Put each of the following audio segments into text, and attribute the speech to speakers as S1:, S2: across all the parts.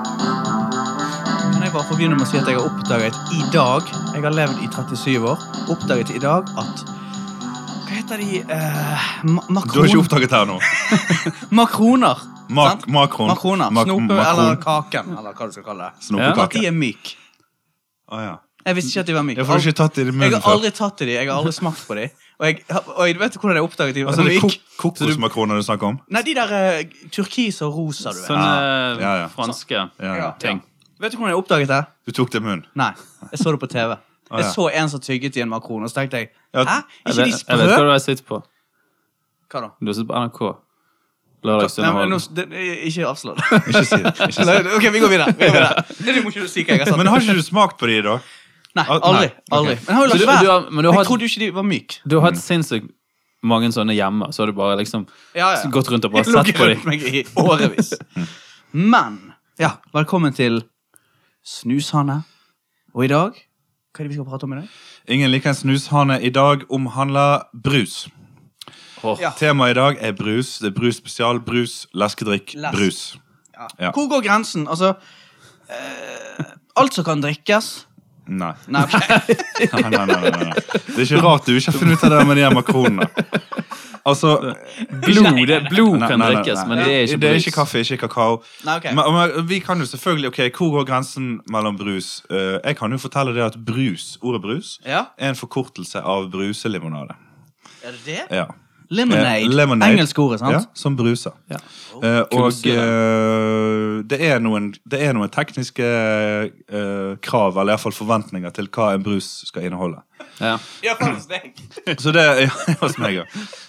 S1: Kan jeg bare få begynne med å si at jeg har oppdaget i dag Jeg har levd i 37 år. Oppdaget i dag at Hva heter de eh, ma
S2: Du har ikke
S1: makron,
S2: oppdaget her nå.
S1: Makroner.
S2: Mak
S1: sant?
S2: makron.
S1: Makroner.
S2: Mak-
S1: Snope
S2: makron.
S1: eller kaken, eller hva du skal kalle det. At
S2: Snopekake.
S1: de er myk.
S2: Å, ja.
S1: Jeg visste ikke at de var myk.
S2: Jeg får ikke tatt det i
S1: Jeg
S2: munnen
S1: har
S2: før.
S1: aldri tatt i de, jeg har aldri smakt på de. Og jeg, og jeg vet du hvordan jeg oppdaget de. var
S2: Altså, det er
S1: myk?
S2: kok kokosmakroner du snakker om?
S1: Nei, de der eh, turkis og rosa, du vet.
S2: Sånn
S3: Sånne
S2: Ja, ja.
S3: franske
S2: Ja, ja.
S3: ting.
S1: Vet du hvordan jeg oppdaget det?
S2: Du tok det i munnen.
S1: Nei, jeg så det på TV. Jeg
S2: ja.
S1: så en som tygget i en makron, og så tenkte jeg
S2: Ja,
S1: Hæ? Ikke
S3: Jeg
S1: de
S3: vet, jeg
S1: sprø?
S3: vet hva du har sett på.
S1: Hva da?
S3: Du har sett på NRK.
S1: Nei, men, nå,
S3: Lørdagsunderholdning.
S1: det, ikke avslå det.
S2: Ikke si det. Ikke si det.
S1: Nei, Ok, vi går videre. Vi går videre. Det må ikke du si hva jeg har sagt.
S2: Men har ikke du smakt på de, da?
S1: Nei,
S2: Al-
S1: aldri.
S2: nei, ok.
S1: aldri. Men jeg har jo
S3: Så
S1: latt
S3: du- du
S1: være.
S3: har- men du har-
S1: Jeg trodde jo ikke de var myke.
S3: Du
S2: Mm.
S3: har hatt sinnssykt mange sånne hjemme, så har du bare liksom
S1: Ja, ja.
S3: gått rundt og bare
S1: Jeg lå
S3: sett på
S1: rundt
S3: dem.
S1: meg i årevis. Men ja, velkommen til Snushane. Og i dag Hva er det vi skal prate om i dag?
S2: Ingen liker en snushane i dag omhandler brus.
S3: Åh.
S1: Ja.
S2: Temaet i dag er brus. Det er brus spesial. Brus, leskedrikk,
S1: Les.
S2: brus. Ja.
S1: Hvor går grensen? Altså eh, Alt som kan drikkes
S2: Nei.
S1: Nei, ok.
S2: Nei, nei, nei, nei, nei. Det er ikke rart du ikke har funnet ut av det med de her makronene. Altså
S3: Blod, det, blod
S2: Nei,
S3: kan
S2: nei, nei,
S3: drikkes,
S2: nei.
S3: men det er ikke
S2: Det er
S3: brus.
S2: ikke kaffe, ikke kakao.
S1: Nei, ok.
S2: Men, men vi kan jo selvfølgelig, ok, Hvor går grensen mellom brus? Eh, jeg kan jo fortelle det at brus, ordet brus
S1: Ja.
S2: er en forkortelse av bruselimonade.
S1: Er det det?
S2: Ja.
S1: Lemonade.
S2: Eh, lemonade.
S1: Engelsk ordet, sant?
S2: Ja, som bruser.
S3: Ja.
S2: Eh, og
S3: Kunstsyre.
S2: eh, det, er noen, det er noen tekniske eh, krav, eller iallfall forventninger, til hva en brus skal inneholde.
S3: Ja.
S1: Ja, faktisk det.
S2: Så det ja, hos meg, ja.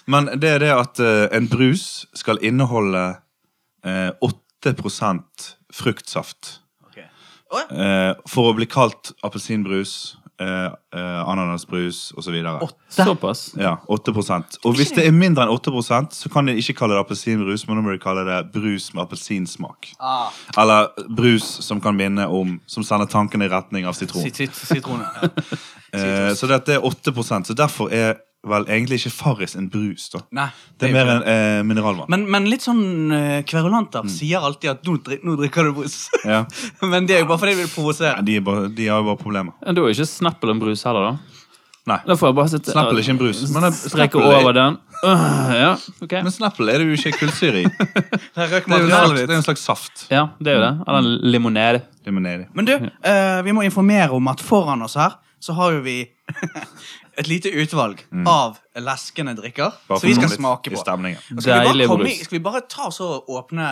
S2: Men det er det at eh, en brus skal inneholde eh, 8 fruktsaft.
S1: Ok. Å, ja.
S2: Eh, for å bli kalt appelsinbrus, eh, eh, ananasbrus osv.
S3: Såpass.
S2: Ja, 8 Og hvis det er mindre enn 8 så kan de ikke kalle det appelsinbrus, men nå må de kalle det brus med appelsinsmak.
S1: Ah,
S2: Eller brus som kan minne om Som sender tankene i retning av sitron.
S1: sit- sit- Sitroner. Ja.
S2: Eh, så dette er 8 så derfor er vel egentlig ikke Farris en brus, da.
S1: Nei.
S2: Det er
S1: jo
S2: mer
S1: ikke
S2: en Mm. eh, mineralvann.
S1: Men, men litt sånn eh, kverulanter sier alltid at nå, dri nå drikker du brus.
S2: Ja.
S1: men det er jo bare fordi de vil
S2: Nei,
S1: provosere.
S2: De, er bare, de har jo bare problemer.
S3: Ja, Da er ikke Snappel en brus heller, da.
S2: Nei.
S3: Da får jeg bare sitte
S2: Snappel er ikke en brus. Men det-
S3: Strekke
S2: Snappel er-
S3: over den. Øh, ja, ok.
S2: Men Snapple er det jo ikke kullsyre i. Det
S1: Her røk
S2: er jo en slags,
S1: materialet
S2: det er
S1: ditt.
S2: en slags saft.
S3: Ja, det er jo det. Eller en limonade.
S2: Limonade.
S1: Men du, eh, vi må informere om at foran oss her så har jo vi et lite utvalg av leskende drikker
S2: Mm. Bare
S1: som vi skal
S2: for å komme litt
S1: smake
S2: i
S1: på.
S2: stemningen.
S1: Og Skal vi, bare
S3: Deilig
S1: komme, i-
S3: brus.
S1: skal vi bare ta oss og åpne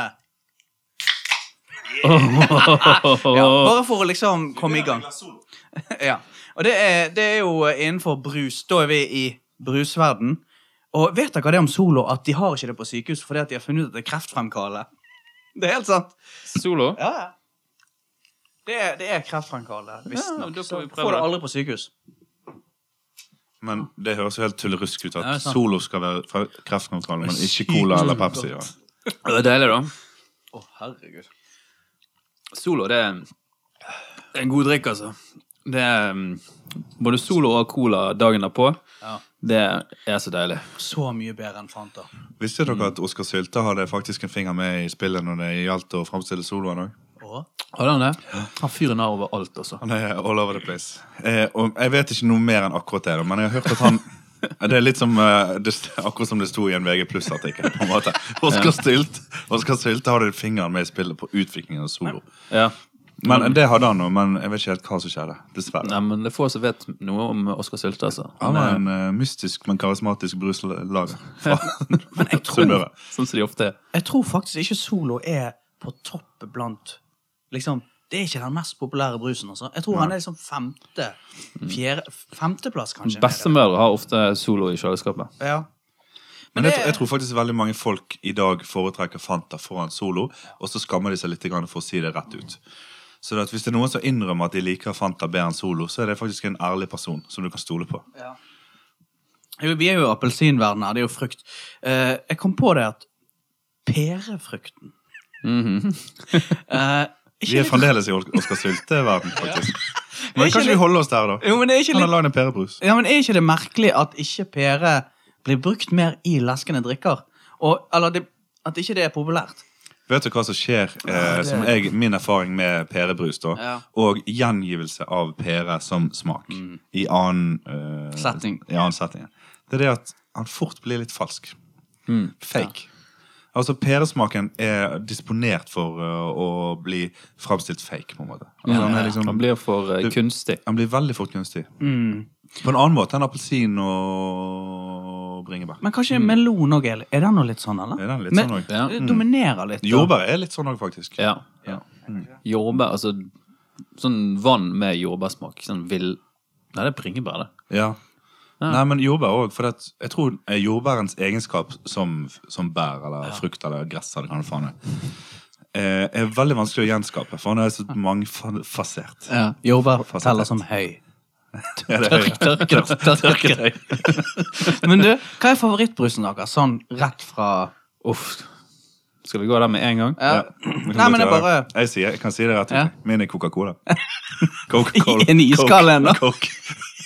S1: ja,
S3: Åh,
S1: Bare for å liksom komme i gang. ja. Og det er, det er jo eh, innenfor brus. Da er vi i brusverden. Og vet dere hva det er om Solo? At de har ikke det på sykehus fordi at de har funnet ut at det er kreftfremkallende. Det er helt sant.
S3: Solo.
S1: Ja, ja. Det er, det er kreftfremkallende, visstnok.
S3: da får
S1: Så
S3: vi prøve
S1: får det
S3: det.
S1: aldri på sykehus.
S2: Men det høres jo helt tullerusk ut at
S3: Ja, det er sant.
S2: Solo skal være fra kreftkontrollen, men ikke Cola eller Pepsi. Ja.
S3: Det er deilig, da.
S1: Å, herregud.
S3: Solo, det er det er en god drikk, altså. Det er mm, både Solo og Cola dagen derpå.
S1: Ja.
S3: Det er så deilig.
S1: Så mye bedre enn Fanta.
S2: Visste dere at Oskar Sylte hadde faktisk en finger med i spillet når det gjaldt å framstille soloen òg?
S1: Å,
S3: Har han det? Han fyren har overalt, altså.
S2: Han er all over the place. Eh, og jeg vet ikke noe mer enn akkurat det, da, men jeg har hørt at han Det er litt som eh, det, akkurat som det sto i en VG Pluss-artikkel. på en måte. Oskar Sylte Oskar Sylte hadde fingeren med i spillet på utviklingen av solo.
S3: Ja.
S2: Men Det hadde han nå, men jeg vet ikke helt hva som skjedde. Dessverre.
S3: Nei, men det er få som vet noe om Oskar Sylte, altså.
S2: Han var
S3: er,
S2: en eh, mystisk, men karismatisk bruslager fra
S1: jeg tror-
S2: Sunnmøre.
S3: sånn som de ofte er.
S1: Jeg tror faktisk ikke Solo er på topp blant Liksom, Det er ikke den mest populære brusen. altså. Jeg tror han er liksom femte fjerde, Femteplass, kanskje.
S3: Bestemødre har ofte Solo i kjøleskapet.
S1: Ja.
S2: Men
S1: det-
S2: jeg, tror- jeg tror faktisk veldig mange folk i dag foretrekker Fanta foran Solo, og så skammer de seg litt grann for å si det rett ut. Så det at hvis det er noen som innrømmer at de liker Fanta bedre enn Solo, så er det faktisk en ærlig person som du kan stole på.
S1: Ja. Jo, Vi er jo i appelsinverdenen her. Det er jo frukt. Eh, jeg kom på det at pærefrukten Eh, ikke
S2: Mhm. Vi er
S1: litt-
S2: fremdeles i Os- Oskar Sylte-verden, faktisk.
S1: Er
S2: Men
S1: ikke
S2: kanskje vi
S1: litt-
S2: holder oss der, da.
S1: Jo, men er ikke
S2: Han har
S1: litt...
S2: lagd en pærebrus.
S1: Ja, men er ikke det merkelig at ikke pære blir brukt mer i leskende drikker? Og, eller det, at ikke det er populært?
S2: Vet du hva som skjer,
S1: Ja,
S2: eh,
S1: det-
S2: som jeg, min erfaring med pærebrus, da?
S1: Ja.
S2: Og gjengivelse av pære som smak i annen eh,
S1: Mm. Setting.
S2: I annen setting. Det er det at han fort blir litt falsk.
S1: Mm.
S2: Fake. Altså, pæresmaken er disponert for eh, å bli framstilt fake, på en måte. Altså, han, er liksom,
S3: Han blir for eh,
S2: Det-
S3: kunstig.
S2: han blir veldig fort kunstig.
S1: Mm.
S2: På en annen måte enn appelsin og bringebær.
S1: Men kanskje melon òg er Er den noe litt sånn, eller?
S2: Mm. Er den litt
S1: Men-
S2: sånn også?
S3: Ja.
S1: det Dominerer litt. da.
S2: Jordbær er litt sånn òg, faktisk.
S3: Ja.
S2: Ja.
S3: Jordbær, altså sånn vann med jordbærsmak. Sånn vill Nei, det er bringebær, det.
S2: Ja. Nei, men jordbær òg. For at, jeg tror eh, jordbærens egenskap som, som bær eller frukt eller gress eller hva det faen er, eh, er veldig vanskelig å gjenskape. For han er så mangefasert.
S1: Ja. Jordbær
S2: Fasitert.
S1: teller som høy.
S2: Ja, det er det.
S3: Tørket, tørket.
S1: Men du, hva er favorittbrusen deres? Sånn rett fra
S3: Uff. Skal vi gå der med en gang?
S1: ja.
S2: Ja, vi kan
S1: Nei, men
S2: godt
S1: det er
S2: gjøre
S1: bare
S2: Jeg, sier, jeg kan si det rett ut.
S1: Ja.
S2: Min er Coca-Cola. Coca-Cola.
S1: I en iskald
S2: Coke,
S1: ennå.
S2: Coke.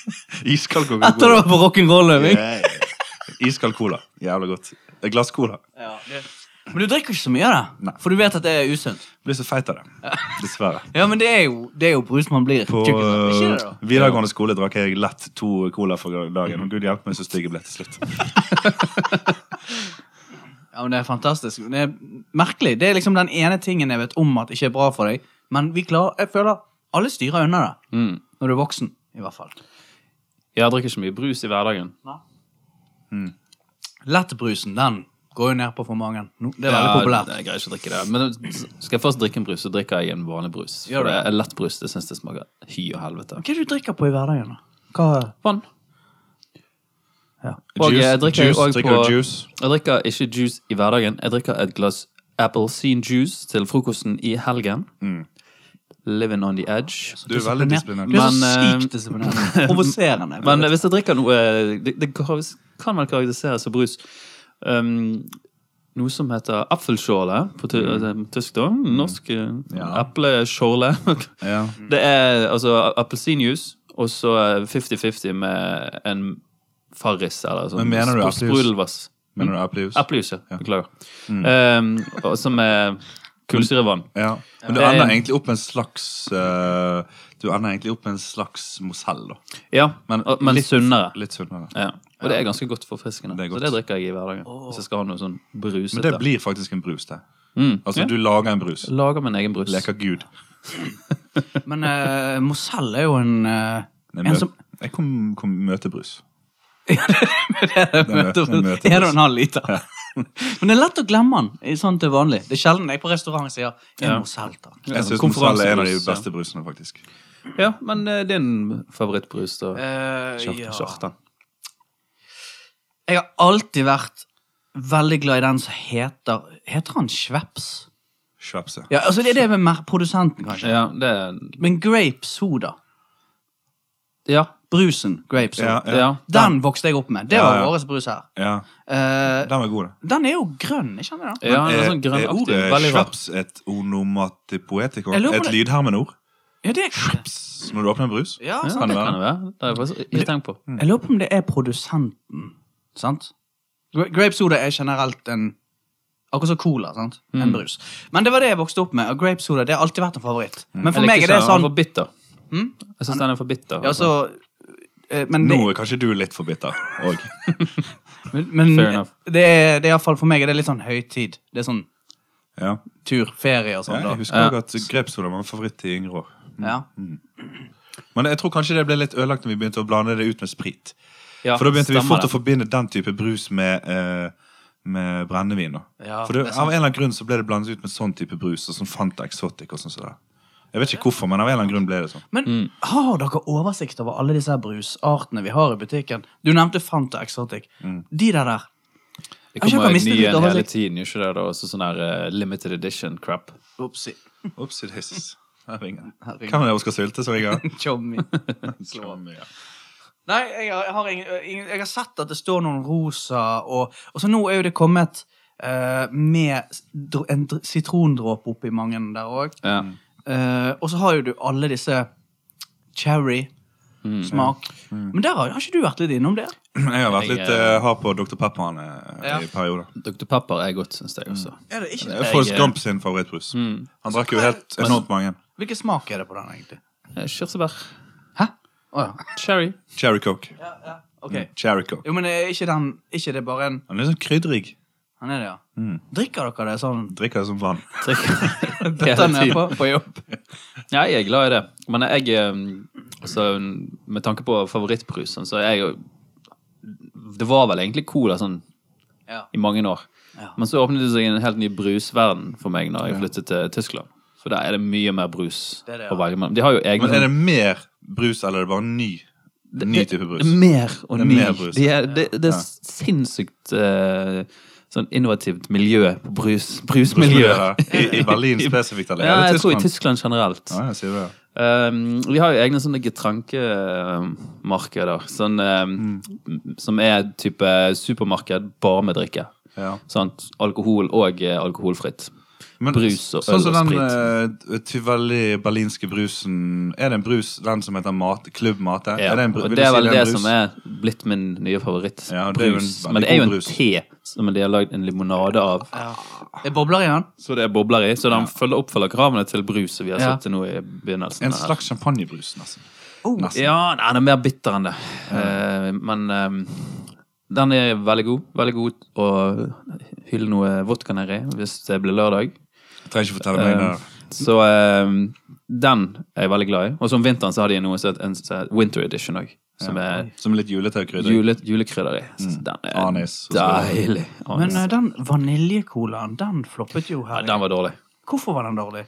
S2: Iskald
S1: Etter du
S2: Coca-Cola.
S1: var på rock'n'roll-øving.
S2: Yeah. Iskald cola. Jævla godt. Et glass cola.
S1: Ja, det- Men du drikker ikke så mye av det,
S2: Nei.
S1: for du vet at det er usunt.
S2: Blir så feit av det. Dessverre.
S1: Ja, men det er jo, det er jo brus man blir.
S2: På
S1: tjukk av. Ikke det, da?
S2: eh, videregående skole drakk jeg lett to cola for dagen. Og gud hjelpe meg så stygg jeg ble til slutt.
S1: Ja, men Det er fantastisk. Det er merkelig. Det er liksom den ene tingen jeg vet om at ikke er bra for deg. Men vi klarer, jeg føler alle styrer unna det.
S3: Mm.
S1: Når du er voksen, i hvert fall.
S3: Jeg drikker ikke mye brus i hverdagen.
S1: Lettbrusen, den går jo ned på for mange. No, det er
S3: Ja,
S1: veldig populært.
S3: det- Jeg greier ikke å drikke det. Men skal jeg først drikke en brus, så drikker jeg en vanlig brus.
S1: Gjør
S3: For
S1: det.
S3: det er lett brus, det syns jeg smaker hy og helvete.
S1: Hva er det du drikker på i hverdagen, da? Hva?
S3: Vann.
S1: Ja.
S3: Og jeg drikker
S2: juice,
S3: jo også
S2: drikker du
S3: på-
S2: juice.
S3: Jeg drikker ikke juice i hverdagen. Jeg drikker et glass appelsinjuice til frokosten i helgen. Living on the edge.
S2: Du er veldig disiplinert.
S1: Du er så
S3: Men, eh,
S1: sykt disiplinert. Provoserende.
S3: Men hvis jeg drikker noe eh, Det, det karakteris- kan vel karakteriseres som brus. Um, noe som heter apfelskjåle på ty
S2: Mm.
S3: altså, tysk, da. Norsk eh, epleskjåle.
S2: Ja.
S3: det er altså a- appelsinjuice, og så eh, 50-50 med en farris eller sånn.
S2: Men mener du
S3: sp-
S2: appeljuice? Mm.
S3: Sprudelvass.
S2: Mener du eplejus?
S3: Eplejus, ja. Beklager. Um, og som er kullsyrevann.
S2: Ja. Eh, Men du
S3: Det er-
S2: ender egentlig opp med en slags eh, Du ender egentlig opp med en slags Mosell, da.
S3: Ja,
S2: Men
S3: men, men
S2: litt-
S3: sunnere.
S2: Litt sunnere.
S3: Ja. Og det er ganske godt forfriskende.
S2: Det er
S3: Så
S2: godt.
S3: det drikker jeg i hverdagen. Hvis jeg skal ha noe sånn brusete.
S2: Men det blir faktisk en brus, det.
S3: Mm.
S2: Altså,
S3: Ja.
S2: du lager en brus.
S3: Lager min egen brus.
S2: Leker Gud.
S1: Men eh, Moselle er jo en eh,
S2: Nei,
S1: en
S2: mø-
S1: som
S2: Jeg kom, kom møtebrus.
S1: møter
S2: mø- møter
S1: en og en halv liter. Men det er lett å glemme den i sånn til vanlig. Det er sjelden jeg på restaurant sier en
S3: Ja.
S1: Moselle. takk».
S2: Jeg syns Mosell
S3: konferansebrus,
S2: er en av de
S3: ja.
S2: beste brusene, faktisk.
S3: Ja, men eh, din favorittbrus, da?
S1: Eh,
S3: Kjart-
S1: ja.
S3: Kjartan.
S1: Jeg har alltid vært veldig glad i den som heter Heter han Schweppes?
S2: Schweppes. ja.
S1: Ja, altså det er det med mer- produsenten, kanskje.
S3: Ja, det er
S1: Men grape soda.
S3: Ja.
S1: Brusen grape
S2: Ja,
S1: soda.
S2: ja.
S3: ja.
S1: Den vokste jeg opp med. Det
S2: Ja,
S1: var
S2: ja.
S1: vår brus her.
S2: ja.
S1: Eh,
S2: Den var god, da.
S1: den er jo grønn, ikke sant? det da?
S3: Ja, den er
S2: Er-
S3: sånn
S2: er
S3: grønnaktig.
S2: ordet
S3: Veldig rar.
S2: Schweppes et onomatipoetikon?
S1: Jeg lurer på
S2: Et
S1: det.
S2: lydhermenord?
S1: Ja, det er Schweppes.
S2: Pss, Når du åpner en brus?
S1: Ja,
S3: Ja,
S1: sant?
S3: det
S2: det være?
S3: kan det være. Det har jeg faktisk ikke tenkt på.
S1: Jeg lurer på om det er produsenten, sant? Gra- Grape soda er generelt en Akkurat som cola, sant? En
S3: Mm.
S1: brus. Men det var det jeg vokste opp med, og grape soda det har alltid vært en favoritt. Men for
S3: Jeg
S1: meg
S3: liker
S1: er det
S3: Mm. ikke
S1: sånn
S3: altså, den, Den er for bitter.
S1: Hm?
S3: Jeg syns den er for bitter.
S1: Ja,
S3: altså.
S1: så eh, men det,
S2: Nå er kanskje du litt for bitter òg.
S1: men, men
S3: Fair enough.
S1: det er, det er iallfall for meg er det litt sånn høytid. Det er sånn
S2: Ja.
S1: tur, ferie og
S2: Ja,
S1: sånn.
S2: Jeg
S1: da.
S2: husker også at grepssoda var en favoritt i yngre år.
S1: Ja.
S2: Men jeg tror kanskje det ble litt ødelagt når vi begynte å blande det ut med sprit.
S3: Ja,
S2: For da begynte vi
S3: stemmer
S2: fort
S3: det.
S2: å forbinde den type brus med, eh, med brennevin. da.
S1: Ja,
S2: For det,
S1: det er sant.
S2: av en eller annen grunn så ble det blandet ut med sånn type brus. og sånn Fanta Exotic og sånn som det. Jeg vet ikke hvorfor, men av en eller annen grunn ble det sånn.
S1: Men
S3: Mm.
S1: har dere oversikt over alle disse her brusartene vi har i butikken? Du nevnte Fanta Exotic.
S3: Mm.
S1: De der der. Jeg
S3: Det
S1: har
S3: kommer
S1: mistet
S3: ny
S1: litt
S3: en hele
S1: oversikt.
S3: tiden, gjør ikke det? da? Også sånn her eh, limited edition crap.
S1: Opsi.
S2: Opsi daisies. Her ringer den.
S1: Her ringer
S2: Hvem er det Oskar Sylte som ringer?
S1: Tjommi. eh, Nei, jeg har, jeg, har ingen, ingen, jeg har sett at det står noen rosa, og, og så nå er jo det kommet eh, med s- dr- en dr- sitrondråpe oppi mange der òg.
S3: Ja.
S2: Mm.
S1: og så har jo du alle disse cherry-smak. Men der har, har ikke du vært litt innom det?
S2: Jeg har vært
S3: Jeg,
S2: litt
S3: eh,
S2: eh, hard på Dr. Pepper'n eh,
S1: Ja.
S2: i perioder.
S3: Dr. Pepper er godt, syns jeg også.
S2: Mm.
S1: Er det ikke
S2: Det
S1: det?
S2: er Forrest
S3: Jeg, eh, mm.
S2: Gump sin favorittbrus. Han drakk jo helt
S1: Men-
S2: enormt mange.
S1: Hvilken smak er det på den, egentlig?
S3: Eh, Kirsebær.
S1: Hæ? Å ja.
S3: Cherry.
S2: Cherry Coke. Mm.
S1: ja, ja. Ok.
S2: Cherry Coke.
S1: Jo, men er ikke den ikke det bare en
S2: Han er sånn krydrig.
S1: Han er det, ja. Drikker dere det sånn?
S2: Drikker som vann.
S1: Bøtter ned på, på jobb?
S3: Nei, jeg er glad i det. Men jeg eh, altså, Med tanke på favorittbrus, sånn, så er jeg jo Det var vel egentlig cola sånn
S1: Ja.
S3: i mange år.
S1: Ja.
S3: Men så åpnet det seg en helt ny brusverden for meg når jeg flyttet til Tyskland. For der er det mye mer brus
S1: Det er det,
S3: å
S1: ja.
S3: velge mellom. De har jo egne
S2: Men er det mer brus, eller er det bare ny, ny type brus?
S3: Det er mer og
S2: Det er
S3: ny.
S2: mer brus.
S3: De er, det, det er sinnssykt eh, sånn innovativt miljø på brus. Brusmiljøet.
S2: Brusmiljø I, I Berlin spesifikt, eller?
S3: Ja,
S2: er det
S3: jeg tror i
S2: Tyskland?
S3: Tyskland generelt.
S2: Ja, jeg sier det.
S3: Um, vi har jo egne sånne getrankemarkeder. Sånn, um,
S2: Mm.
S3: Som er type supermarked bare med drikke.
S2: Ja.
S3: Sant? Alkohol og eh, alkoholfritt.
S2: Men
S3: Brus og øl
S2: sånn som
S3: og
S2: den uh, tyvelli berlinske brusen Er det en brus, den som heter mat, klubbmate?
S3: Ja.
S2: Er det en, bru-
S3: og
S2: vil du
S3: det er
S2: si
S3: vel
S2: er en
S3: det
S2: brus?
S3: som er blitt min nye favoritt.
S2: Ja, det er jo en
S3: Brus.
S2: veldig
S3: Men det er jo
S2: god
S3: en
S2: brus.
S3: te som de har lagd en limonade av.
S1: Det er bobler i den?
S3: Så det er bobler i. Så den følger, oppfølger kravene til brus som vi har
S1: Ja.
S3: sett til nå i begynnelsen.
S2: En
S3: her.
S2: slags champagnebrus, nesten. Nesten.
S3: Ja, nei, den er mer bitter enn det. Eh, men eh, den er veldig god. Veldig god å hylle noe vodka nedi hvis det blir lørdag. Eh,
S2: Jeg trenger ikke fortelle meg det.
S3: Så eh, den er jeg veldig glad i. Og som vinteren så har de noe som heter en som heter winter edition òg. Som er
S2: Som litt julete krydder.
S3: jule, julekrydder i. Så den er
S2: Mm. Anis og så
S3: deilig. Anis.
S1: Men eh, den vaniljecolaen, den floppet jo her.
S3: den var dårlig.
S1: Hvorfor var den dårlig?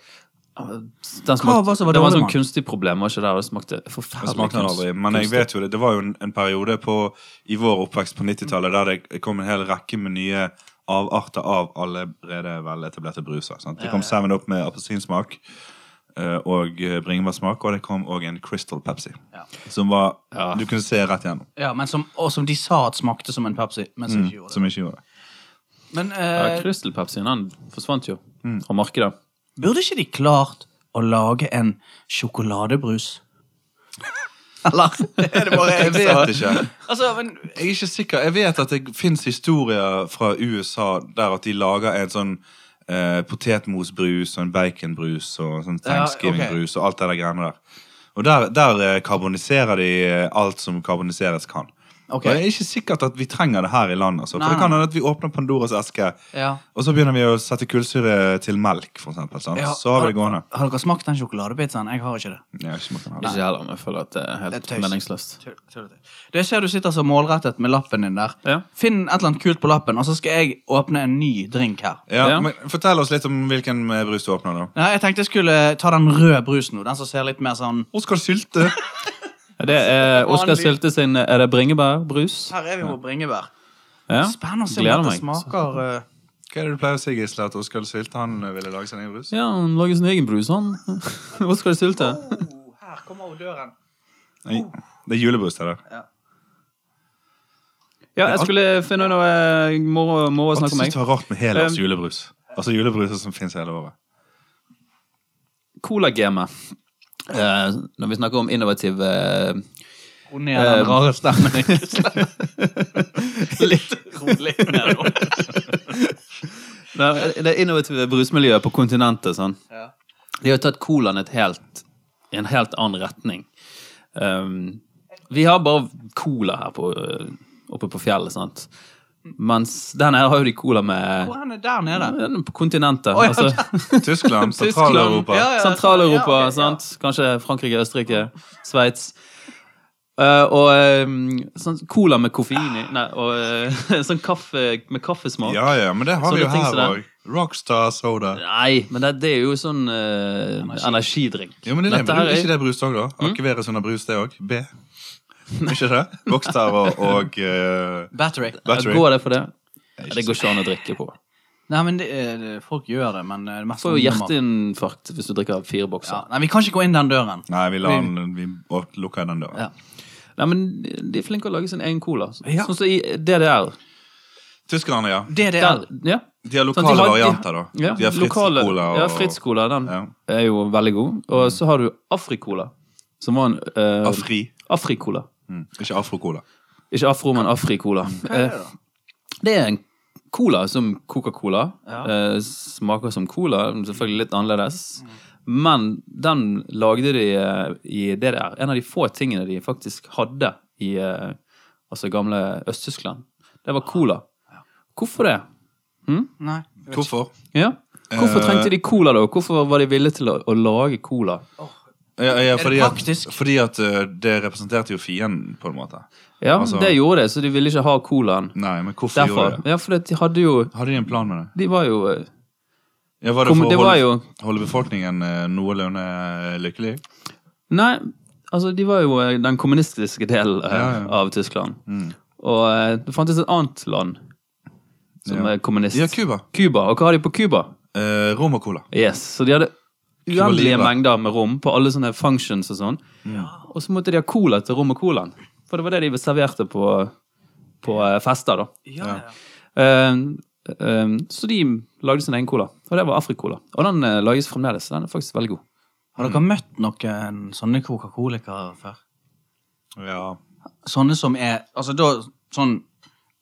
S3: Den
S1: Hva var det som var dårlig
S3: det var en
S1: med
S3: sånn kunstig problem, var ikke det? Det smakte
S2: Jeg
S3: forferdelig
S2: smakte den aldri, men jeg vet jo det. Det var jo en, en periode på, i vår oppvekst på 90-tallet der det kom en hel rekke med nye avarter av allerede veletablerte bruser. Sant? Det kom Seven Up med appelsinsmak eh, og eh, bringebærsmak, og det kom òg en Crystal Pepsi. Som var
S3: Ja.
S2: Du kunne se rett gjennom.
S1: Ja, men som, og som de sa at smakte som en Pepsi, men som ikke gjorde det.
S2: Mm, Som ikke gjorde det.
S1: Men
S3: Ja,
S1: eh,
S3: Crystal Pepsien den forsvant jo
S2: Mm.
S3: fra markedet.
S1: burde ikke de klart å lage en sjokoladebrus? Eller? Er det bare jeg
S2: Jeg
S1: som-
S2: vet ikke.
S1: Altså, men
S2: Jeg er ikke sikker. Jeg vet at det fins historier fra USA der at de lager en sånn eh, potetmosbrus og en baconbrus og sånn thanksgivingbrus og alt det der greiene der. Og der, der eh, karboniserer de eh, alt som karboniseres kan.
S1: Ok.
S2: Og Det er ikke sikkert at vi trenger det her i landet. Altså. For
S1: Nei,
S2: det kan
S1: nei.
S2: hende at vi åpner Pandoras eske,
S1: Ja.
S2: og så begynner vi å sette kullsyre til melk, for eksempel. Sant?
S1: ja,
S2: Så har vi det gående.
S1: Har dere smakt den sjokoladepizzaen? Jeg har ikke det.
S2: Jeg har ikke smakt den her.
S3: Ikke heller, men jeg føler at det er helt
S1: Det er tøys.
S3: meningsløst.
S1: Tull- tullete. Du, jeg ser du sitter så målrettet med lappen din der.
S3: Ja.
S1: Finn et eller annet kult på lappen, og så skal jeg åpne en ny drink her.
S2: Ja,
S3: Ja.
S2: Men fortell oss litt om hvilken eh, brus du åpner, da.
S1: Nei, jeg tenkte jeg skulle eh, ta den røde brusen nå. Den som ser litt mer sånn
S2: Oskar Sylte.
S3: Det er eh, Oskar
S1: Vanlig.
S3: Sylte sin eh, Er det bringebærbrus?
S1: Her er vi på bringebær.
S3: Ja.
S1: Spennende å se
S3: Gleder
S1: om dette
S3: meg.
S1: smaker eh,
S2: Hva er det du pleier å si, Gisle, at Oskar Sylte han eh, ville lage sin egen brus?
S3: Ja, han lager sin egen brus, han. Oskar Sylte.
S1: oh, Her kommer jo døren.
S2: Nei, det er julebrus, det der.
S3: Ja, jeg skulle finne noe eh, moro moro å
S2: Jeg
S3: snakke om.
S2: synes det
S3: Jeg.
S2: var rart med helårs
S3: Um,
S2: julebrus. Altså julebruser som finnes hele året.
S3: Cola-gamet. Eh, når vi snakker om innovativ eh,
S1: Ro ned den
S3: Eh,
S1: rare stemmen. Gisle. litt rolig ned nå.
S3: det- Det innovative brusmiljøet på kontinentet. Sånn.
S1: Ja.
S3: De har tatt colaen et helt, i en helt annen retning. Um, vi har bare cola her på, øh, oppe på fjellet, sant. Mens den her har jo de cola med
S1: Hvor er den der nede?
S3: den er på kontinentet.
S1: ja.
S3: altså,
S2: Tyskland,
S3: Tyskland,
S2: Sentral-Europa.
S1: ja, ja.
S3: Sentral-Europa,
S1: Ja, ok, ja.
S3: sant. Kanskje Frankrike, Østerrike, Sveits. Eh, og eh, sånn cola med koffein i. Nei, og eh, sånn kaffe med kaffesmak.
S2: Ja, ja, men det har
S3: Sånne
S2: vi jo
S3: ting
S2: her
S3: som det.
S2: òg. Rockstar Soda.
S3: Nei, men det, det er jo sånn eh, energidrikk.
S2: Jo, men det er
S3: Dette her
S2: det.
S3: er- Mm.
S2: ikke det brus òg, da? Akeveres under brus, det òg? B? Ikke det? Rockstar og, og eh,
S1: Battery.
S2: Battery.
S3: Går det for det? Ja, Det går ikke an å drikke på.
S2: Sånn
S1: Nei, men det, er- det, folk gjør det, men eh, det er mest
S3: Du får jo
S1: ungdommer.
S3: hjerteinfarkt hvis du drikker fire
S1: Ja,
S3: bokser.
S1: nei, vi kan ikke gå inn den døren.
S2: Nei, vi, lar den, vi å- lukker den døra.
S1: Ja.
S3: Nei, men de er flinke å lage sin egen cola.
S1: Ja.
S3: Sånn som i DDR.
S2: Tyskerne, ja.
S1: DDR.
S3: Der, ja,
S2: De har
S3: Sånn,
S2: lokale
S3: de har- de-
S2: varianter, da.
S3: Ja,
S2: de har Fritz
S3: lokale-
S2: Cola og
S3: Ja, Fritz Cola, den
S2: Ja.
S3: er jo veldig god. Og så har du Afrikola, som var en eh,
S2: Afri.
S3: Afrikola.
S2: Mm. Ikke Afro-Cola.
S3: Ikke afro, men afrikola. Eh, Det er en cola som Coca-Cola. Eh, Smaker som cola, selvfølgelig litt annerledes. Men den lagde de eh, i DDR. En av de få tingene de faktisk hadde i eh, altså gamle Øst-Tyskland. Det var cola. Hvorfor det?
S1: Nei.
S2: Hvorfor?
S3: Ja. Hvorfor
S2: Eh,
S3: trengte de cola, da? Hvorfor var de villige til å, å lage cola?
S2: Ja, ja, fordi
S1: praktisk?
S2: at, fordi at eh, det representerte jo fienden, på en måte.
S3: Ja,
S2: Altså-
S3: det gjorde de, så de ville ikke ha colaen.
S2: Nei, men hvorfor
S3: Derfor.
S2: gjorde de det?
S3: Ja, for de hadde jo
S2: Hadde de en plan med det?
S3: De var jo eh,
S2: Ja, var det
S3: Kom-
S2: for
S3: det
S2: å
S3: var
S2: holde,
S3: jo-
S2: holde befolkningen eh, noenlunde eh, lykkelig?
S3: Nei, altså de var jo eh, den kommunistiske delen eh,
S2: Ja, Mm. ja.
S3: av Tyskland. Og eh, det fantes et annet land som
S2: Ja.
S3: er kommunist.
S2: Ja, Cuba.
S3: Cuba. Og hva har de på Cuba?
S2: Eh, rom og cola.
S3: Yes, Så de hadde uendelige
S2: Libre.
S3: mengder med rom på alle sånne functions og sånn. Og så måtte de ha cola til rom og colaen. For det var det de serverte på, på eh, fester, da.
S1: Ja, ja.
S3: Eh, eh, så de lagde sin egen cola. Og det var Afrikola. Og den eh, lages fremdeles. Den er faktisk veldig god.
S1: Har dere møtt noen sånne Coca-Colikere før?
S2: Ja.
S1: Sånne som er Altså, da sånn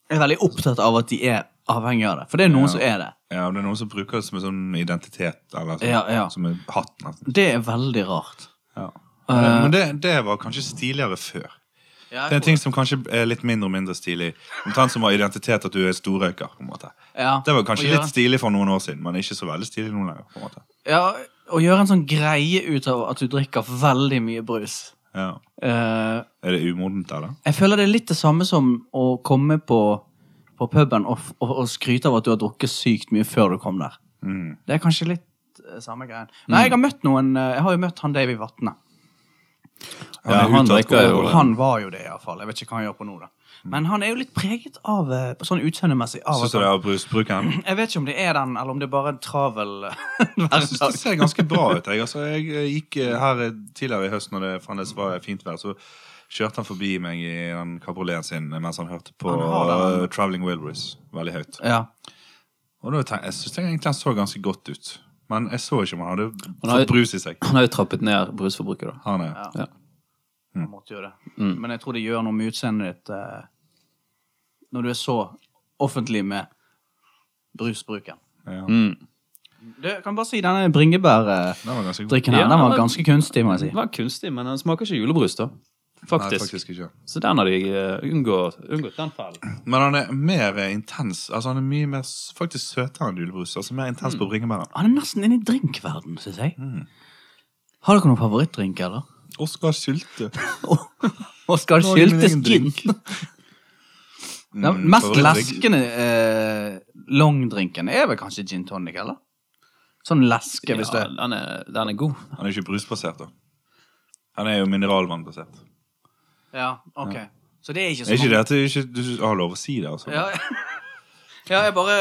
S1: Jeg er veldig opptatt av at de er avhengig av det. For det er noen
S2: Ja.
S1: som er det.
S2: ja, det er noen som bruker det som en sånn identitet, eller sånn,
S1: Ja, ja.
S2: som en hatt, nesten.
S1: Det er veldig rart.
S2: Ja. Men det, det var kanskje stiligere før. Det er en ting som kanskje er litt mindre og mindre stilig. Omtrent som har identitet at du er storrøyker. på en måte.
S1: Ja,
S2: Det var
S1: å
S2: kanskje
S1: gjøre-
S2: litt stilig for noen år siden, men ikke så veldig stilig nå lenger. på en måte.
S1: Ja, å gjøre en sånn greie ut av at du drikker veldig mye brus.
S2: Ja.
S1: Eh,
S2: Er det umodent, eller?
S1: jeg føler det er litt det samme som å komme på, på puben og, f- og, og skryte av at du har drukket sykt mye før du kom der.
S2: Mm.
S1: Det er kanskje litt eh, samme greien. Nei, jeg har møtt noen eh, Jeg har jo møtt han Davy Vatne.
S2: er
S3: Ja, han
S2: utdratt
S3: drikker jo-
S2: alkohol.
S1: Han var jo det, iallfall. Jeg vet ikke hva han gjør på nå, da. Men han er jo litt preget av eh, sånn utseendemessig. Av
S2: Syns
S1: at
S2: Mm. du det
S1: han,
S2: er brusbruken?
S1: jeg vet ikke om det er den, eller om det er bare en travel eh,
S2: Jeg syns det
S1: hverdag.
S2: ser ganske bra ut. Jeg, altså, jeg eh, gikk eh, her eh, tidligere i høst når det fremdeles var fint vær, så kjørte han forbi meg i den kabrioleten sin eh, mens han hørte på
S1: Han har
S2: eh, Traveling Wilburys veldig høyt.
S1: Ja.
S2: Og da tenkte, jeg syns egentlig han så ganske godt ut, men jeg så ikke om han hadde
S3: har jo-
S2: fått brus i seg.
S3: Han har jo trappet ned brusforbruket, da.
S2: Han er,
S1: Ja.
S3: Ja.
S2: Mm.
S1: Han måtte jo det. Men jeg tror det gjør noe med utseendet ditt eh, når du er så offentlig med brusbruken.
S2: ja.
S3: Mm.
S1: Du, jeg kan bare si denne bringebærdrikken
S2: Den var ganske god.
S1: her,
S3: Ja,
S1: den var
S3: men-
S1: ganske kunstig, må jeg
S3: Den
S1: si.
S3: var kunstig, men den smaker ikke julebrus, da. Faktisk.
S2: Nei, faktisk ikke.
S3: Så den har de eh, unngått, unngått den fellen.
S2: Men han er mer eh, intens. Altså Han er mye mer s- faktisk søtere enn julebrus. Altså Mer intens på bringebæren.
S1: Han er nesten inne i drinkverden, syns jeg. Har dere noen favorittdrink, eller?
S2: Oskar Sylte.
S1: Oskar
S2: Nå har jeg min
S1: Syltes
S2: egen
S1: gin.
S2: drink. Mm,
S1: Den mest
S2: favorittdrink.
S1: leskende eh, longdrinken er vel kanskje gin tonic, eller? Sånn leske, hvis det
S3: Ja, den, er, den er god.
S2: Han er ikke brusbasert, da. Han er jo mineralvannbasert.
S1: Ja, ok. Så det er ikke
S2: Er ikke det at du ikke du har lov å si det, altså?
S1: Ja, ja jeg bare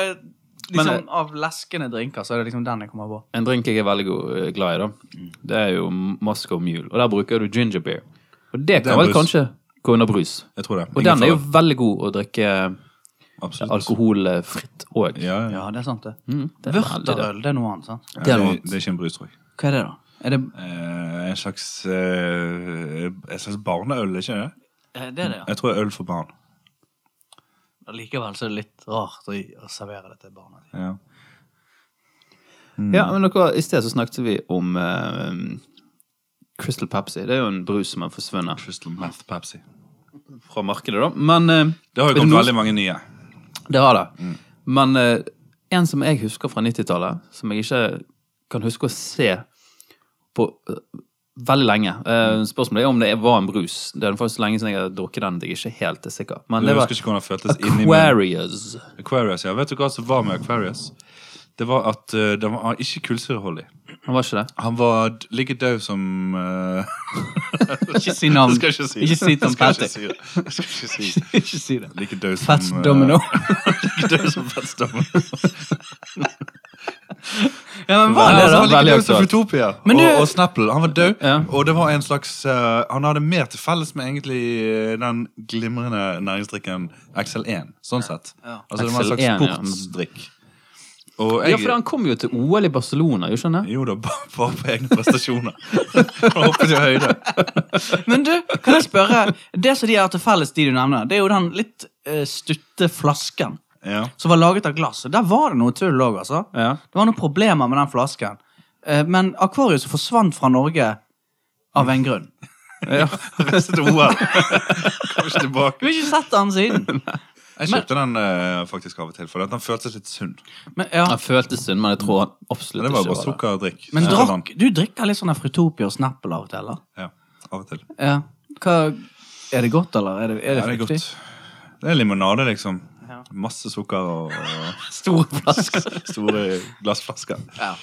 S1: liksom,
S3: Men, eh,
S1: Av leskende drinker så er det liksom den jeg kommer på.
S3: En drink jeg er veldig god, eh, glad i, da, det er jo Moscow Mule. Og der bruker du ginger beer. Og det
S2: er
S3: kan vel
S2: brus.
S3: kanskje gå under brus.
S2: Jeg tror det.
S3: Og
S2: Ingen
S3: den er jo
S2: fare.
S3: veldig god å drikke
S2: Absolutt.
S3: alkoholfritt òg.
S2: Ja, ja.
S1: Ja, det er sant, det.
S3: det er veldig det.
S1: Vørterøl, det er noe annet, sant?
S2: Ja,
S3: det er
S2: det,
S3: noe
S2: det er ikke en brus, tror jeg.
S1: Hva er det, da? Er det,
S2: Eh, en slags eh, En slags barneøl, ikke det?
S1: eh, det er det, ja.
S2: Jeg tror det er øl for barn.
S1: Likevel så er det litt rart å, gi- å servere det til barna.
S2: Ja. Mm.
S3: Ja, men dere, I sted så snakket vi om eh, Crystal Pepsi. Det er jo en brus som har forsvunnet
S2: Crystal Meth Pepsi.
S3: fra markedet, da. Men eh,
S2: Det har
S3: er
S2: jo kommet
S3: noe-
S2: veldig mange nye.
S3: Det har det. Men eh, en som jeg husker fra 90-tallet, som jeg ikke kan huske å se på eh, veldig lenge Eh, Spørsmålet er om det var en brus. Det er faktisk lenge siden jeg har drukket den. at Jeg er ikke helt er sikker. Men
S2: Du
S3: det var
S2: husker ikke hvordan det føltes inni munnen.
S3: Aquarius.
S2: Aquarius, ja. Vet du hva som var med Aquarius? Det var at eh, det var ikke kullsyreholdig.
S3: Han var ikke det?
S2: Han var d- like død som eh,
S1: Ikke si navn.
S2: Jeg skal ikke si det.
S1: Ikke si Tom
S2: Jeg skal ikke
S1: Petty.
S2: si det. Jeg skal ikke si det. Mm.
S1: Ikke si det.
S2: Like død som eh,
S1: Fats domino.
S2: Like død som Fats domino.
S1: Ja, men hva
S3: Ja,
S1: er det,
S2: han
S3: altså,
S1: da?
S2: var like
S3: Veldig
S2: død som
S3: aktuelt.
S2: Futopia
S1: Men du-
S2: sånn og, og Snapple. Han var død,
S3: Ja.
S2: og det var en slags eh, Han hadde mer til felles med egentlig eh, den glimrende næringsdrikken XL1, sånn sett.
S1: Ja.
S2: Altså det var en
S3: XL1, ja.
S2: slags sportsdrikk. Og
S3: Ja, for han kom jo til OL i Barcelona, jo skjønner jeg?
S2: Jo da, bare bare på egne prestasjoner. Han hoppet i høyde.
S1: Men du, kan jeg spørre Det som de har til felles, de du nevner, det er jo den litt eh, stutte flasken
S2: Ja.
S1: som var laget av glass. Og der var det noe tull òg, altså.
S3: Ja.
S1: Det var noen problemer med den flasken. Eh, men Akvarius forsvant fra Norge av en grunn.
S2: Reiste til OL. Kom ikke
S1: Du
S2: tilbake.
S1: har ikke sett den siden.
S2: Jeg kjøpte den eh, faktisk av og til, for den føltes litt sunn.
S1: Men, ja.
S3: Han føltes sunn, men jeg tror han
S2: Men
S3: absolutt
S2: det var bare
S3: ikke var det.
S2: sukkerdrikk.
S1: men
S2: Så
S1: drakk, du drikker litt sånn her Fruitopia og Snapple av og til, eller?
S2: Ja, av og til.
S1: Ja. Hva, er det godt, eller? Er det, er det,
S2: Ja, det er
S1: fruktig?
S2: godt. Det er limonade, liksom.
S1: Ja.
S2: Masse sukker og, og
S1: Store flasker.
S2: store glassflasker.
S1: Ja.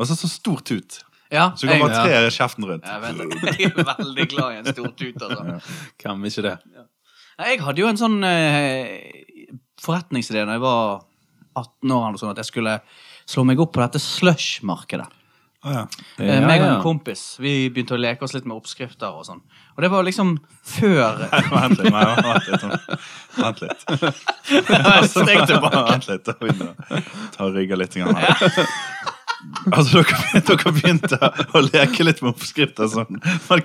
S2: Og så så stor tut.
S1: ja
S2: Så du kan bare
S3: Ja.
S2: tre kjeften rundt.
S1: Jeg vet det. Jeg er veldig glad i en stor tut, altså.
S3: Hvem ikke det?
S1: Nei, Jeg hadde jo en sånn eh, forretningsidé da jeg var 18 år, eller sånn, at jeg skulle slå meg opp på dette slush-markedet.
S2: Å, ja.
S1: Eh, meg og
S3: Ja, ja.
S1: en kompis vi begynte å leke oss litt med oppskrifter og sånn. Og det var liksom før
S2: Vent litt. Nei, vent litt. sånn. Vent litt.
S1: Steg tilbake.
S2: Altså, Vent litt. da begynner jeg å Ta og rygge litt. Grann her. Altså, dere, dere begynte å leke litt med oppskrifter. og Sånn. Men hva,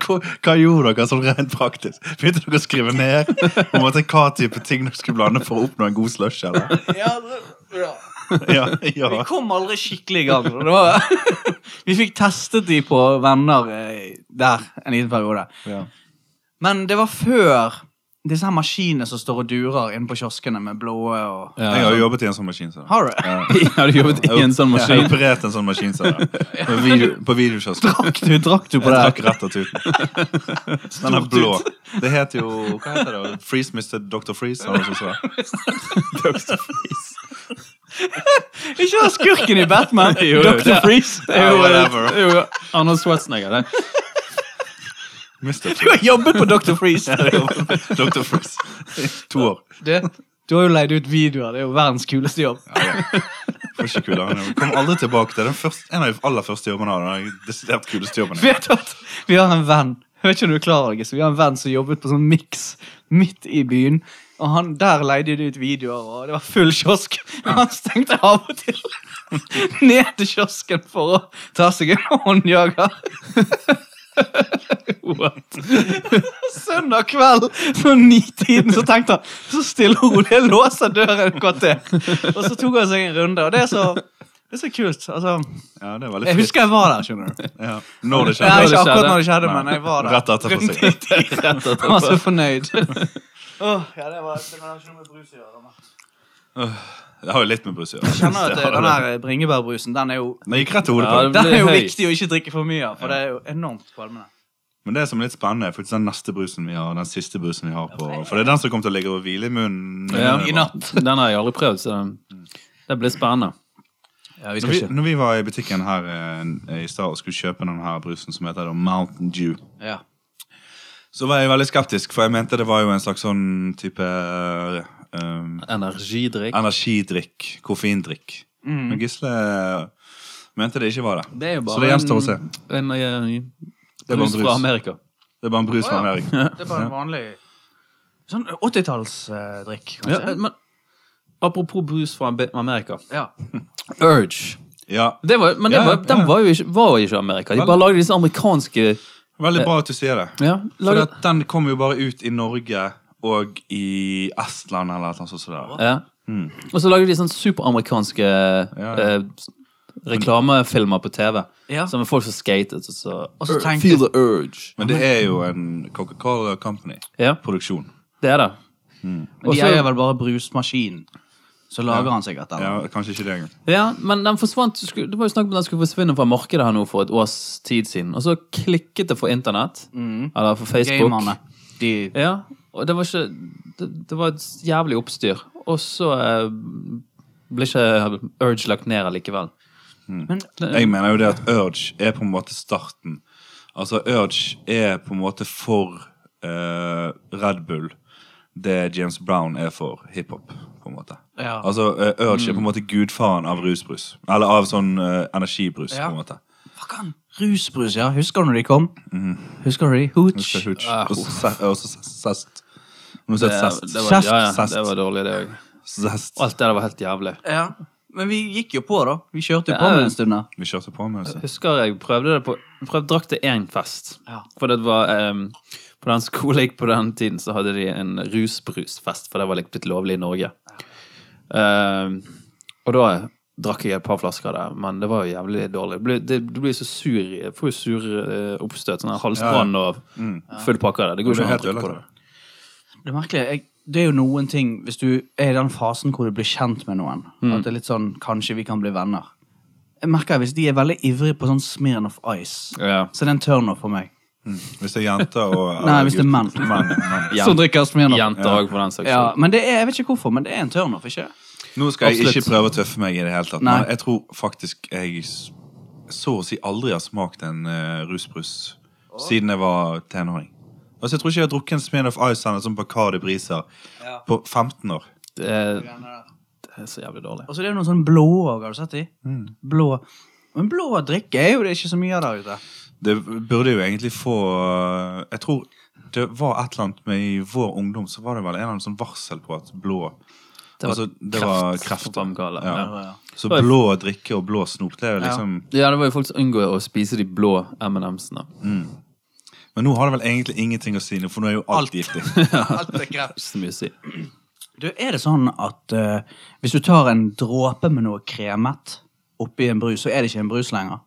S2: hva gjorde dere sånn rent praktisk? Begynte dere å skrive ned på en måte, hva type ting dere skulle blande for å oppnå en god slush? Eller?
S1: Ja, det- ja.
S2: Ja,
S1: Vi
S2: ja.
S1: kom aldri skikkelig i gang. og Det var, vi fikk testet de på venner eh, der en liten periode.
S2: Ja.
S1: Men det var før disse her maskinene som står og durer inne på kioskene med blå og
S2: Jeg har
S3: Ja.
S2: jo jobbet i en sånn maskin. Så.
S1: Har du?
S2: Ja.
S3: Har du jobbet i en sånn
S2: Jeg har
S3: maskin?
S2: operert en sånn maskin. Så. På, video, på videokiosk.
S1: Drakk du, drakk du på
S2: Jeg
S1: det?
S2: trakk rett av tuten. Den er blå. Det heter jo Hva heter det? Freeze Mr. Dr. Freeze? Eller noe sånt.
S1: Ikke han skurken i Batman!
S3: Jo, jo,
S1: Dr.
S3: det-
S1: Freeze!
S3: Det er jo-
S2: Whatever.
S3: det er jo Arnold Schwarzenegger, det.
S2: Mr.
S1: Du har jobbet på Dr. Freeze!
S2: Freeze. Dr. Freeze. To år.
S1: Du, du har jo leid ut videoer. Det er jo verdens kuleste jobb.
S2: Ja, ja. Får ikke kula. Han kom aldri tilbake til den første, en av de aller første jobbene. han hadde. Den desidert kuleste jobben.
S1: Vet du at vi har en venn Jeg vet ikke om du er klar over det, Gisle, Vi har en venn som jobbet på sånn mix midt i byen. Og han Der leide de ut videoer, og det var full kiosk. Og han stengte av og til ned til kiosken for å ta seg en håndjager. Søndag kveld sånn nitiden så tenkte han så stille og rolig jeg låser døren et kvarter. Og så tok han seg en runde, og det er så, det er så kult. Altså,
S2: Ja, det er veldig
S1: jeg
S2: fritt.
S1: husker jeg var der, skjønner du.
S2: Ja. Når det
S1: Ja,
S2: skjedde.
S3: det
S1: ikke akkurat
S3: skjedde.
S1: når det skjedde, men
S2: Nei.
S1: jeg var der.
S2: Rett etterpå,
S1: Rundt
S2: sikkert.
S1: i tiden. Jeg var så fornøyd. Åh, ja, det var det var ikke noe med brus å gjøre. da.
S2: Det har jo litt med brus å
S1: Jeg kjenner
S2: gjøre.
S1: at eh, den der bringebærbrusen, den er jo,
S2: Den gikk rett til hodet
S3: Ja,
S2: på
S3: det
S2: deg.
S1: den er jo
S3: høy.
S1: viktig å ikke drikke for mye av, for det er jo enormt kvalmende.
S2: Men det som er litt spennende, er faktisk den neste brusen vi har. Den siste brusen vi har på For det er den som kommer til å ligge og hvile i munnen.
S3: Ja.
S1: I natt.
S3: Den har jeg aldri prøvd, så den- det blir spennende.
S1: vi
S2: Når vi, når vi var i butikken her eh, i stad og skulle kjøpe den her brusen som heter da Mountain Dew,
S1: Ja.
S2: så var jeg veldig skeptisk, for jeg mente det var jo en slags sånn type eh, um,
S3: Energidrikk.
S2: energidrikk, koffeindrikk. Men Gisle eh, mente det ikke var det.
S3: Mm. Det er jo bare
S2: Så det gjenstår å se.
S3: En, en, en,
S2: er bare
S3: brus
S2: brus.
S3: fra Amerika.
S2: Det er bare en brus
S1: Å,
S2: med
S1: ja.
S2: Erik.
S1: Det er bare en vanlig sånn 80-tallsdrikk,
S3: Ja,
S1: kanskje.
S3: men apropos brus fra Abe- Amerika.
S1: Ja.
S3: Urge.
S2: Ja.
S3: Det var, men det
S2: Ja,
S3: var,
S2: ja.
S3: den var jo ikke, var jo ikke Amerika. De
S2: Vel-
S3: bare lagde disse amerikanske
S2: Veldig bra at du sier det.
S3: ja,
S2: For
S3: lagde,
S2: at den kom jo bare ut i Norge og i Estland eller noe sånt. som det der.
S3: ja. Og så lagde de sånne superamerikanske
S2: ja.
S3: eh, reklamefilmer på TV.
S1: Ja.
S3: Som er folk som skatet. Og så,
S1: Og så
S3: Ur-
S1: tenkte-
S3: Feel the urge.
S2: Men det er jo en Coca-Cola Company-produksjon.
S3: Ja, det er det.
S1: Men
S3: Mm. Og
S1: de
S3: så-
S1: eier vel bare brusmaskinen. Så lager
S2: Ja.
S1: han sikkert den.
S2: Ja, kanskje ikke det engang.
S3: Ja, men den forsvant skulle- Det var jo snakk om at den skulle forsvinne fra markedet her nå for et års tid siden. Og så klikket det for internett. Eller for Facebook.
S1: Gamerne. De
S3: Ja, og det var ikke Det, det var et jævlig oppstyr. Og så eh, ble ikke Urge lagt ned allikevel.
S1: Men
S2: Jeg mener jo det at Urge er på en måte starten. Altså Urge er på en måte for eh, Red Bull det James Brown er for hiphop. på en måte.
S1: Ja.
S2: Altså eh, Urge
S3: Mm.
S2: er på en måte gudfaren av rusbrus. Eller av sånn eh, energibrus,
S1: Ja.
S2: på en måte.
S1: Fuck han. Rusbrus, ja. Husker du når de kom? Mhm. Husker du de? Hooch.
S2: Så hooch. Og så se- og så se- zest. Nå har du
S3: Ah, oh. Det,
S2: sett zest.
S3: det var, ja, ja,
S2: Zest.
S3: det var dårlig, det òg.
S2: Zest.
S3: Alt det der var helt jævlig.
S1: Ja. Men vi gikk jo på, da. Vi kjørte jo på
S3: Ja,
S1: med
S3: ja.
S1: en stund. der.
S2: Vi kjørte på med oss.
S3: Husker jeg prøvde det på prøvde, Drakk til én fest.
S1: Ja.
S3: For det var em, På den skolen jeg gikk på den tiden, så hadde de en rusbrusfest, for det var litt blitt lovlig i Norge. Em, og da drakk jeg et par flasker der, men det var jo jævlig dårlig. Du blir, det, du blir så sur i- jeg Får jo sur eh, oppstøt. Sånn her halsbrann og full pakke av det. Det går
S2: Det er
S3: ikke an å
S2: Mm. helt
S3: drikke på det.
S2: ødelagt.
S1: Det er merkelig. Jeg, det er jo noen ting Hvis du er i den fasen hvor du blir kjent med noen, at det er litt sånn Kanskje vi kan bli venner. Jeg merker Hvis de er veldig ivrige på sånn Smirnoff Ice,
S3: Ja.
S1: så er det en turnoff for meg.
S2: Hvis det er jenter og
S1: Nei, hvis det er menn.
S2: menn, menn.
S3: Jen-
S1: Som drikker Smirnoff.
S3: Jenter òg, for den saks
S1: Ja,
S3: skyld.
S1: men det er, jeg vet ikke hvorfor, men det er en turnoff, ikke?
S2: Nå skal jeg
S3: Absolutt.
S2: ikke prøve å tøffe meg i det hele tatt.
S1: Nei.
S2: Men jeg tror faktisk jeg s- så å si aldri har smakt en eh, rusbrus siden jeg var tenåring. Altså, jeg tror ikke jeg har drukket en Smirnoff Ice eller en sånn Bacardi Brisa
S1: Ja.
S2: på 15 år.
S3: Det, er- det er så jævlig dårlig.
S1: Og så er det jo noen sånne blå òg, har du sett de?
S3: Mm.
S1: Blå. Men blå drikke er jo det ikke så mye av der ute.
S2: Det burde jo egentlig få eh, Jeg tror det var et eller annet med i vår ungdom så var det vel en eller annen sånn varsel på at blå
S3: Det var
S2: altså, det var
S3: kreft.
S2: kreft.
S3: på Amgala.
S2: Ja.
S3: Ja.
S2: Så blå drikke og blå snop, det er jo liksom
S3: Ja, det var jo folk som unngår å spise de blå M&M-sene.
S2: Men nå har det vel egentlig ingenting å si, nå, for nå er jo alt,
S1: Alt.
S2: giftig.
S1: Alt er
S3: Ikke så mye å si.
S1: Du, er det sånn at eh, hvis du tar en dråpe med noe kremet oppi en brus, så er det ikke en brus lenger?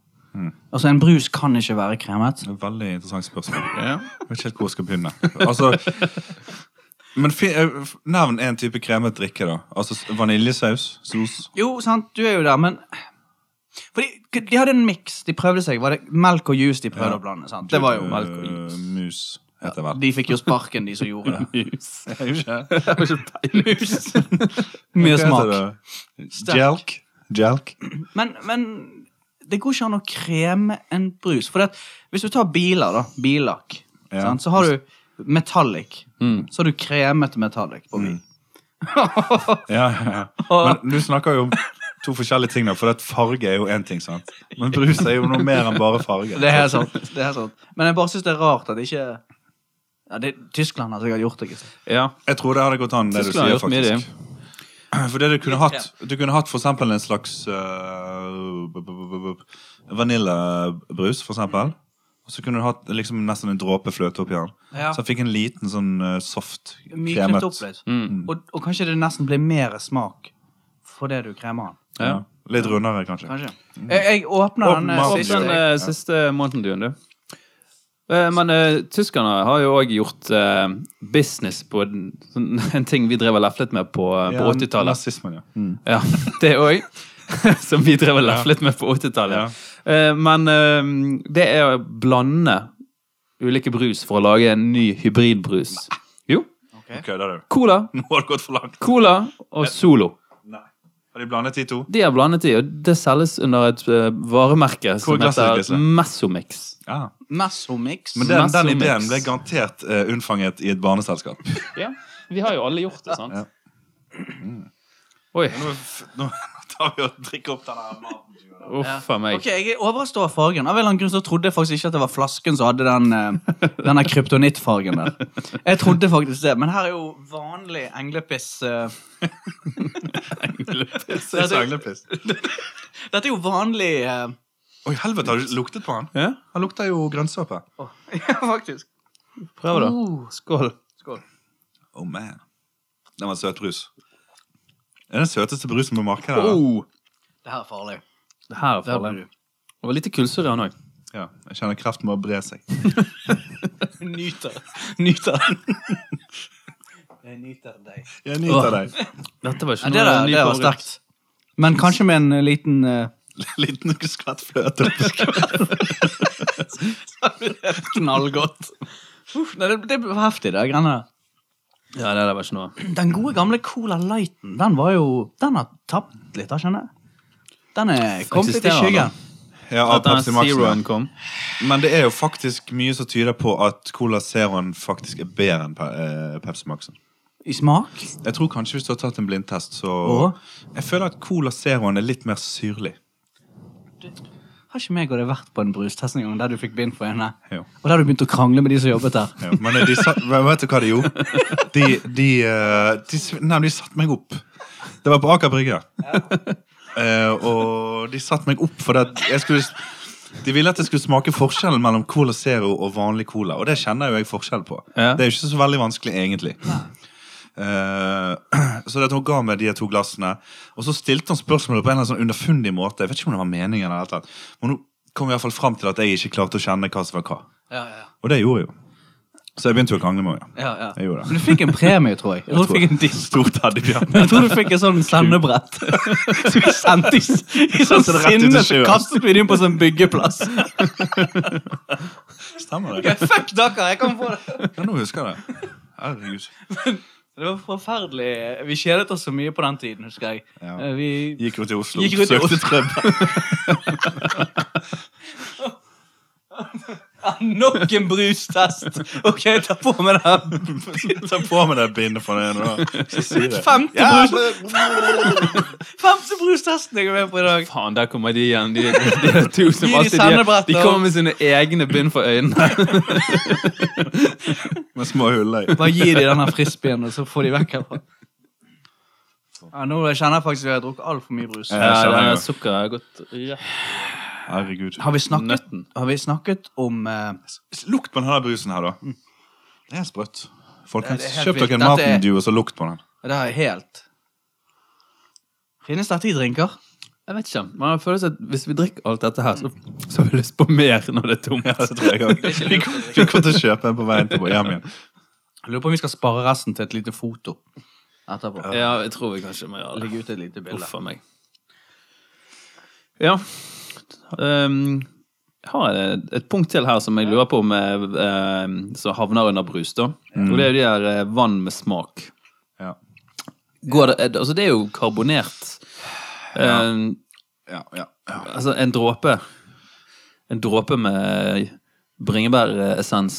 S1: Altså, en brus kan ikke være kremet.
S2: Veldig interessant spørsmål. Jeg vet ikke helt hvor jeg skal begynne. Altså, men fi, eh, f- Nevn en type kremet drikke, da. Altså s- Vaniljesaus? Sos?
S1: Jo, sant, du er jo der, men Fordi k- de hadde en miks de prøvde seg. Var det melk og juice de prøvde
S2: Ja.
S1: å blande? sant? Det var jo
S3: melk og juice.
S2: Eh, Mus, heter det vel.
S1: De fikk jo sparken, de som gjorde det.
S3: Mus.
S2: Jeg vet ikke.
S3: Jeg har ikke peiling.
S1: Mye
S2: Hva heter
S1: smak.
S2: det?
S1: Sterk.
S2: Jelk? Jelk?
S1: Men, men det går ikke an å kreme en brus. For at, hvis du tar biler, da. Billakk.
S2: Ja.
S1: Sant? Så har du metallic. Så har du kremet metallic på bil.
S2: Ja, ja. ja. Men du snakker jo om to forskjellige ting, da, for at farge er jo én ting, sant? Men brus er jo noe mer enn bare farge.
S1: Det er helt sant. Det er helt sant. Men jeg bare syns det er rart at ikke ja, det, Tyskland har sikkert gjort det. Ikke? sant?
S3: Ja.
S2: Jeg tror det hadde gått an, det du
S3: Tyskland har
S2: sier,
S3: gjort mye,
S2: faktisk. For det du kunne hatt, du kunne hatt for eksempel en slags øh, b- b- b- b- vaniljebrus, for eksempel. Og så kunne du hatt liksom nesten en dråpe fløte oppi den.
S1: Ja.
S2: Så jeg fikk en liten sånn øh, soft,
S1: Myknet
S2: kremet
S1: opp litt. Og, og kanskje det nesten blir mer smak for det du kremer den.
S2: Ja. Litt rundere, kanskje.
S1: Kanskje. Jeg, jeg åpner den eh,
S2: Åpner
S3: Åpne
S1: siste.
S3: den eh, siste Mountain Dewen, du. Eh, Men eh, tyskerne har jo òg gjort eh, business på den, sånn, en ting vi drev og leflet med på, eh, på 80-tallet.
S2: Nazismen, ja. Mm.
S3: Ja, det òg. Som vi drev og leflet med på 80-tallet. Eh, Men eh, det er å blande ulike brus for å lage en ny hybridbrus. Jo.
S1: Ok.
S2: Kødder du?
S3: Cola,
S2: Nå har det gått for langt.
S3: Cola og Solo.
S2: Nei. Har de blandet de to?
S3: De er blandet i, og det selges under et eh, varemerke
S2: Hvor
S3: som
S2: er glasset,
S3: heter
S2: Lise?
S3: Messomix.
S2: Ja.
S1: Messomix.
S2: Men den, den
S3: Masse
S2: ideen
S3: mix.
S2: ble garantert eh, unnfanget i et barneselskap.
S3: Ja, vi har jo alle gjort det, sant?
S2: Ja.
S3: Oi,
S2: Nå, f- nå tar vi og drikker opp den her maten.
S3: uff a meg.
S1: Ok, Jeg er overrasket over fargen. Av en eller annen grunn så trodde jeg faktisk ikke at det var flasken som hadde den, eh, denne kryptonittfargen der. Jeg trodde faktisk det, men her er jo vanlig englepiss. eh,
S2: Det er sanglepiss.
S1: Dette er jo vanlig eh,
S2: Oi, helvete, har du luktet på den?
S3: Ja,
S2: Han lukter jo grønnsåpe.
S1: å, Ja, faktisk.
S3: prøv da.
S1: Oh.
S3: Skål.
S1: Skål.
S2: Oh man. Den var søt brus. Det er den søteste brusen på markedet. da.
S3: Oh,
S1: Det her er farlig.
S3: det her er
S1: Det her blir
S3: farlig. Det var lite kullsyre han òg.
S2: Ja, jeg kjenner kreften må bre seg.
S1: du nyter. Nyter den. Jeg nyter deg.
S2: Jeg
S1: nyter
S2: deg.
S3: Dette var ikke
S1: Ja, det, der, det var sterkt. Men kanskje med en liten eh,
S2: Liten skvett fløte.
S1: knallgodt. Uff, nei, det, det var heftig, det greiene der.
S3: Ja, det der var ikke noe.
S1: Den gode gamle Cola Lighten, den var jo Den har tapt litt, da, skjønner jeg. Den er kommet litt i
S3: Eksisterer
S1: skyggen.
S2: Ja, av
S3: At den
S2: Pepsi Max.
S3: zeroen kom.
S2: Men det er jo faktisk mye som tyder på at Cola Zeroen faktisk er bedre enn Pe eh, Pepsi Maxen.
S1: I smak?
S2: Jeg tror kanskje hvis du har tatt en blindtest, så
S1: Åh.
S2: Jeg føler at Cola Zeroen er litt mer syrlig.
S1: Har ikke meg og det vært på en brustest en gang der du fikk bind for henne?
S2: Jo.
S1: Og der du begynte å krangle med de som jobbet der?
S2: Ja, men de sa, men vet du hva de gjorde? De, de, eh, de, sv- nei, de satte meg opp. Det var på Aker Brygge. Eh, og de satte meg opp for det. at Jeg skulle, de ville at jeg skulle smake forskjellen mellom Cola Zero og vanlig cola. Og det kjenner jo jeg forskjell på.
S3: Ja.
S2: Det er jo ikke så veldig vanskelig, egentlig. Eh, så det at hun ga meg de to glassene, og så stilte hun spørsmålet på en eller annen sånn underfundig måte. Jeg vet ikke om det var meningen eller et eller annet. Men hun kom i hvert fall fram til at jeg ikke klarte å kjenne hva som var hva.
S1: Ja, ja,
S2: Og det gjorde jeg jo. Så jeg begynte jo å krangle med henne.
S1: ja, ja.
S2: Jeg gjorde det.
S1: Men du fikk en premie, tror jeg. Jeg tror du fikk en disk.
S2: Stort teddybjørn.
S1: Jeg tror du fikk et sånn sendebrett. Så vi sendte i, i sånn
S2: Sendte det rett ut i
S1: sinne, så
S2: sjøen.
S1: kastet vi det inn på en sånn byggeplass.
S2: Stemmer
S1: Ja,
S2: det?
S1: Fuck dere, jeg kan få det.
S2: Ja, nå husker jeg det. Herregud.
S1: Det var forferdelig. Vi kjedet oss så mye på den tiden, husker jeg.
S2: Ja.
S1: Eh, Vi,
S2: Gikk rundt i Oslo,
S1: Gikk rundt i
S2: søkte
S1: Oslo.
S2: trøbbel.
S1: ja, nok en brustest! Ok, jeg tar på meg den.
S2: Ta på med det bindet for det nå. Så sier jeg
S1: Femte,
S2: Ja,
S1: brus, femte brustesten jeg er med på i dag.
S3: Faen, der kommer de igjen. De, de, de to som
S1: Gi de
S3: alltid
S1: sendebrett,
S3: de, de
S1: da.
S3: kommer med sine egne bind for øynene.
S2: Med små huller i.
S1: Bare gi dem denne frisbeen, og så får de vekk herfra. Ja, nå kjenner jeg faktisk at jeg har drukket altfor mye brus.
S2: Ja, jeg skjønner
S3: den
S2: jo.
S3: sukkeret har gått rett
S2: Herregud.
S1: Har vi snakket,
S3: nøtten.
S1: har vi snakket om eh,
S2: Lukt på denne brusen her, da. Det er sprøtt. Folkens,
S1: Ja, det er helt
S2: kjøp dere
S1: vilt.
S2: en
S1: Dette er-
S2: Mountain Dew og så lukt på den.
S1: Det er helt Finnes dette i drinker?
S3: Jeg vet ikke. Men jeg føler at hvis vi drikker alt dette her, så, så har vi lyst på mer når det er tomt.
S2: Ja, det tror jeg også. Vi kom- vi kommer til å kjøpe en på veien til hjem igjen.
S1: Jeg lurer på om vi skal spare resten til et lite foto etterpå.
S3: Ja, jeg tror vi kanskje må gjøre det.
S1: Legge ut et lite bilde.
S3: Uff a meg. Ja. Ehm, har jeg et punkt til her som jeg lurer på om ehm, som havner under brus, da. Og det er jo de her eh, vann med smak.
S2: Ja.
S3: Går det, eh, altså, det er jo karbonert. Ehm,
S2: Ja, ja, ja.
S3: Altså, en dråpe En dråpe med bringebæressens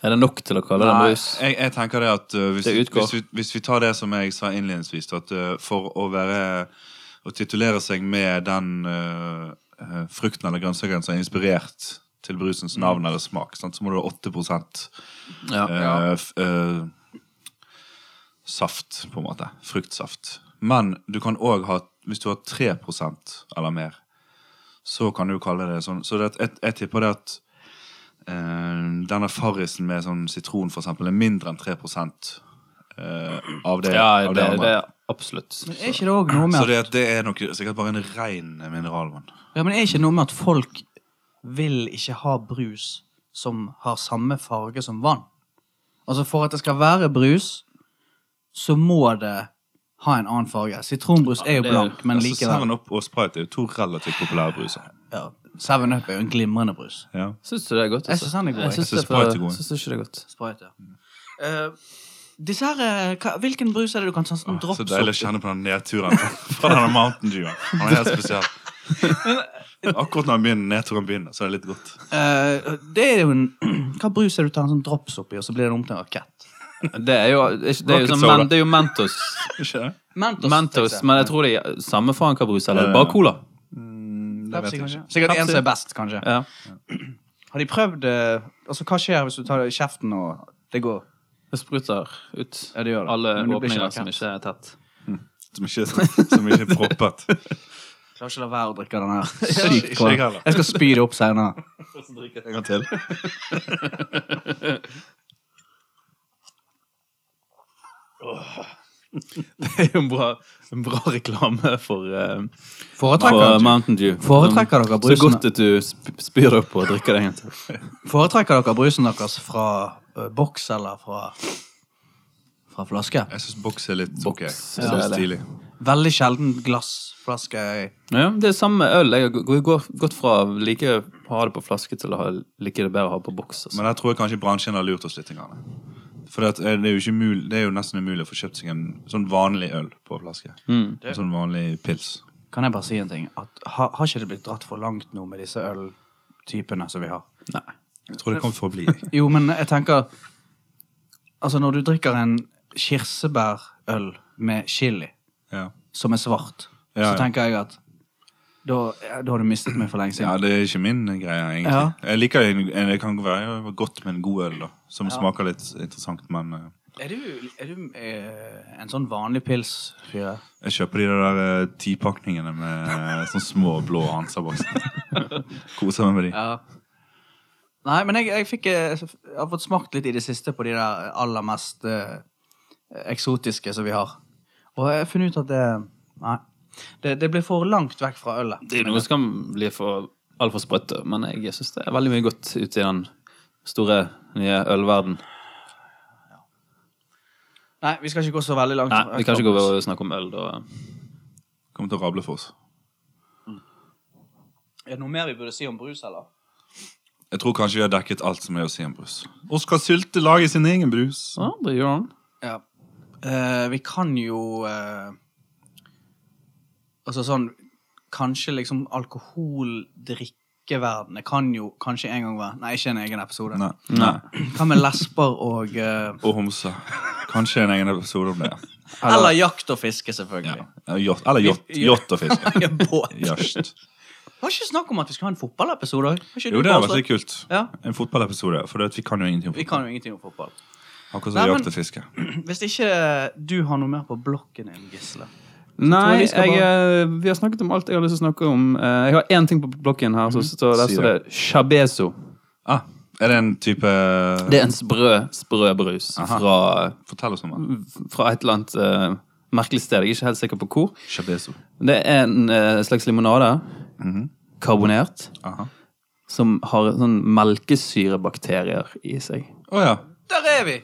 S3: Er det nok til å kalle det en brus?
S2: jeg, jeg tenker det at uh, hvis,
S3: Det utgår.
S2: hvis, vi, hvis vi tar det som jeg sa innledningsvis, at uh, for å være Å titulere seg med den uh, uh, frukten eller grønnsaken som er inspirert til brusens
S3: Mm.
S2: navn eller smak, sant? så må du ha 8
S3: Ja.
S2: eh, f- eh, saft, på en måte. Fruktsaft. Men du kan òg ha Hvis du har 3 eller mer, så kan du kalle det sånn. Så det, jeg, jeg tipper det at eh, denne farrisen med sånn sitron, for eksempel, er mindre enn 3 eh, av det,
S3: Ja,
S2: av
S3: det,
S2: andre.
S3: det er absolutt.
S1: Men er ikke det også noe med
S2: Så
S1: at,
S2: det, det er nok sikkert bare en rein mineralvann.
S1: ja, men er ikke noe med at folk vil ikke ha brus som har samme farge som vann? Altså For at det skal være brus, så må det ha en annen farge. Sitronbrus er jo
S3: det er-
S1: blank, men
S2: Altså,
S1: likevel.
S2: Seven Up og Sprite er jo to relativt populære bruser.
S1: Ja, Seven Up er jo en glimrende brus.
S2: Ja.
S3: Syns du det er godt? altså?
S1: Jeg synes han er god, jeg.
S3: Jeg syns
S2: Jeg synes
S3: det er for-
S2: Sprite er god.
S3: syns du ikke det er godt.
S1: Sprite, ja. Eh, disse her, eh, hva, hvilken brus er det du kan ta sånn drops
S2: Ah, Så deilig å
S1: oppi?
S2: kjenne på den nedturen fra denne Mountain Dew. Han er helt spesiell. Akkurat når han begynner, nedturen begynner, så er det litt godt.
S1: Eh, det er jo en, hva brus er det du tar en sånn drops oppi, og så blir det om til en rakett?
S3: Det er jo, det er jo,
S2: Rocket
S3: sånn,
S2: soda.
S3: men, det er jo Mentos.
S2: Ikke det?
S1: Mentos.
S3: Mentos,
S1: tenkte jeg.
S3: Men jeg tror det er samme faen hva brus
S2: Ja,
S3: eller
S2: ja, ja.
S3: bare cola.
S2: Det vet
S1: Pepsi,
S2: jeg
S1: kanskje.
S2: ikke.
S1: Sikkert
S3: Pepsi.
S1: en som er best, kanskje.
S3: Ja.
S1: Har de prøvd eh, Altså, hva skjer hvis du tar det i kjeften og det går?
S3: Det spruter ut
S1: Ja, det gjør det.
S3: alle
S1: Men det blir ikke
S3: åpninger
S1: rakett.
S3: som ikke er tett.
S2: Som ikke, som ikke er proppet.
S1: Klarer ikke la være å drikke den her.
S2: ikke
S1: Sykt bra.
S2: jeg heller.
S1: Jeg skal spy det opp senere.
S2: En gang til.
S3: Det er jo en bra, en bra reklame for, eh, for
S1: Foretrekker,
S3: Mountain Dew.
S1: Foretrekker dere
S3: Så
S1: brusen-
S3: godt at du sp- spyr deg opp og drikker det en gang til.
S1: foretrekker dere brusen deres fra eh, boks eller fra, fra flaske?
S2: Jeg syns boks er litt ok. Jeg
S3: Boks,
S2: synes det
S3: ja.
S2: er stilig.
S1: Veldig sjelden glassflaske. i-
S3: Ja, det er samme øl. Jeg har gå- gå- gått fra å like å ha det på flaske til å ha, like det bedre å ha på boks. Altså.
S2: Men jeg tror jeg kanskje bransjen har lurt oss litt. grann. For det, at, eh, det, er jo ikke mul det er jo nesten umulig å få kjøpt seg en sånn vanlig øl på flaske. En sånn vanlig pils.
S1: Kan jeg bare si en ting? At, ha, har ikke det blitt dratt for langt nå med disse øltypene som vi har?
S3: Nei.
S2: Jeg tror det kommer for å bli.
S1: Jo, men jeg tenker Altså, når du drikker en kirsebærøl med chili
S2: Ja.
S1: som er svart,
S2: Ja, ja.
S1: så tenker jeg at da, ja, da har du mistet meg for lenge
S2: ja,
S1: siden.
S2: det er ikke min greie, egentlig.
S1: Ja.
S2: Jeg liker en, en, Det kan være godt med en god øl, da. Som smaker litt interessant, men eh,
S1: Er du, er du eh, en sånn vanlig pils-fyr?
S2: Jeg kjøper de der eh, tipakningene med eh, sånne små blå Hansa-bokser. Koser meg med de.
S1: Ja. Nei, men jeg, jeg, fikk, eh, jeg har fått smakt litt i det siste på de der aller mest eh, eksotiske som vi har. Og jeg har funnet ut at det Nei. Det, det blir for langt vekk fra ølet.
S3: Det er noe som kan bli for altfor sprøtt, men jeg syns det er veldig mye godt ute i den store, nye ølverden.
S1: Nei, vi skal ikke gå så veldig langt.
S3: Nei, vi kan ikke gå over og snakke om øl, da.
S2: Kommer til å rable for oss.
S1: Er det noe mer vi burde si om brus, eller?
S2: Jeg tror kanskje vi har dekket alt som er å si om brus. Oskar Sylte lager sin egen brus.
S3: Ja, Sånn, det gjør han.
S1: Ja. Eh, vi kan jo eh, Altså sånn Kanskje liksom alkoholdrikkeverdenene kan jo kanskje en gang være Nei, ikke en egen episode.
S2: Nei. Nei.
S1: Hva med lesber og eh,
S2: Og homse. Kanskje en egen episode om det.
S1: Eller jakt og fiske, selvfølgelig.
S2: Ja. Yacht- Eller yacht- yacht og fiske.
S1: Ja. båt.
S2: Jørst.
S1: Var ikke snakk om at vi skulle ha en fotballepisode òg?
S2: Jo, det hadde vært litt kult.
S1: Ja.
S2: En fotballepisode. For det at vi kan jo ingenting om
S1: Vi
S2: fotball.
S1: kan jo ingenting om fotball.
S2: Akkurat
S1: Nei,
S2: som
S1: men-
S2: jakt og fiske.
S1: Hvis ikke du har noe mer på blokken din, Gisle tror jeg
S3: Nei,
S1: vi skal
S3: jeg, eh, vi har snakket om alt jeg har lyst til å snakke om. Eh, Jeg har én ting på blokken her, så, så der
S2: Si
S3: står Mm. det Chabezo.
S2: Ah, er det en type
S3: Det er en sprø, sprø brus fra,
S2: Fortell oss om den.
S3: fra et eller annet eh, merkelig sted. Jeg er ikke helt sikker på hvor.
S2: Chabezo.
S3: Det er en eh, slags limonade, Mhm. karbonert,
S2: Aha.
S3: som har sånn melkesyrebakterier i seg.
S2: Å ja.
S1: Der er vi!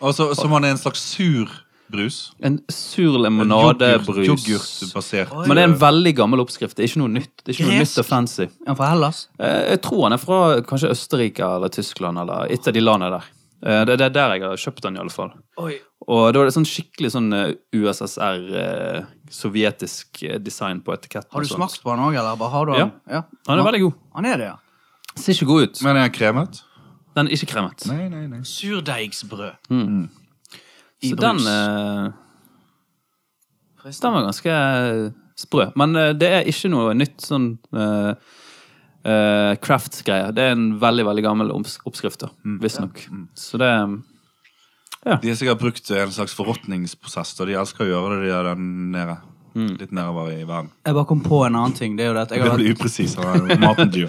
S2: Og så som han er en slags sur brus.
S3: En sur
S2: En
S3: limonadebrus.
S2: yoghurt- Yoghurtbasert.
S1: Oi.
S3: Men det er en veldig gammel oppskrift. Det er ikke noe nytt Det er ikke noe
S1: Gresk.
S3: nytt og fancy.
S1: Ja, fra Hellas.
S3: Eh, Jeg tror han er fra kanskje Østerrike eller Tyskland eller et av de landene der. Eh, Det det er der jeg har kjøpt den, i alle fall.
S1: Oi.
S3: Og da er det sånn skikkelig sånn USSR-sovjetisk eh, design på etiketten.
S1: Har
S3: og
S1: du
S3: sånt.
S1: smakt på den òg, eller bare har du
S3: Ja.
S1: den? Ja.
S3: Han er veldig god.
S1: Han er det, ja.
S3: Ser ikke god ut.
S2: Men er han kremet?
S3: Den er ikke kremet.
S2: Nei, nei, nei.
S1: Surdeigsbrød. Mm. I
S3: Så
S1: brus.
S3: den eh, Den var ganske sprø. Men eh, det er ikke noe nytt sånn eh, eh, Crafts-greie. Det er en veldig veldig gammel oms- oppskrift, da, visstnok. Så det
S2: De har sikkert brukt en slags forråtningsprosess, og de elsker å gjøre det de gjør der nede. Litt nedover i verden.
S1: Jeg bare kom på en annen ting. Det er jo det at jeg
S2: Det
S1: har vært
S2: blir upresis. Han er jo maten dyr.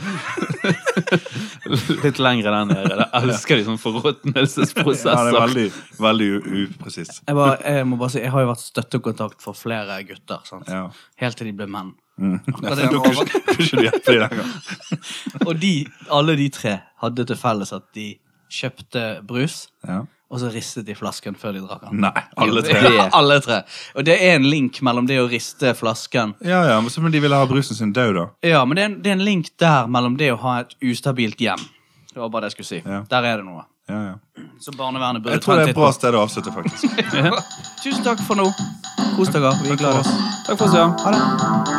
S3: Litt lengre der nede. Jeg elsker de sånn
S2: Ja, det
S3: forråtnelsesprosesser.
S2: er veldig, veldig u- upresis.
S1: jeg, bare, jeg må bare si, jeg har jo vært støttekontakt for flere gutter. Sant?
S2: Ja.
S1: Helt til de ble menn.
S2: Nei,
S1: det er
S2: du kunne ikke- kunne ikke du hjelpe dem den gangen.
S1: Og de, alle de tre hadde til felles at de kjøpte brus,
S2: Ja.
S1: og så ristet de flasken før de drakk den.
S2: Nei, alle tre.
S3: Det-
S1: alle tre. Og det er en link mellom det å riste flasken
S2: Ja, ja, men så- Men de ville ha brusen sin død, da.
S1: Ja, men det er, en, det er en link der mellom det å ha et ustabilt hjem. Det var bare det jeg skulle si.
S2: Ja.
S1: Der er det noe.
S2: Ja, ja.
S1: Så barnevernet burde
S2: Jeg tror det
S1: ta
S2: er
S1: en
S2: et bra
S1: titt
S2: sted å avslutte, faktisk.
S1: på. Tusen takk for nå. Kos dere. Vi er glad i oss.
S3: Takk for oss. Ja.
S1: Ha det.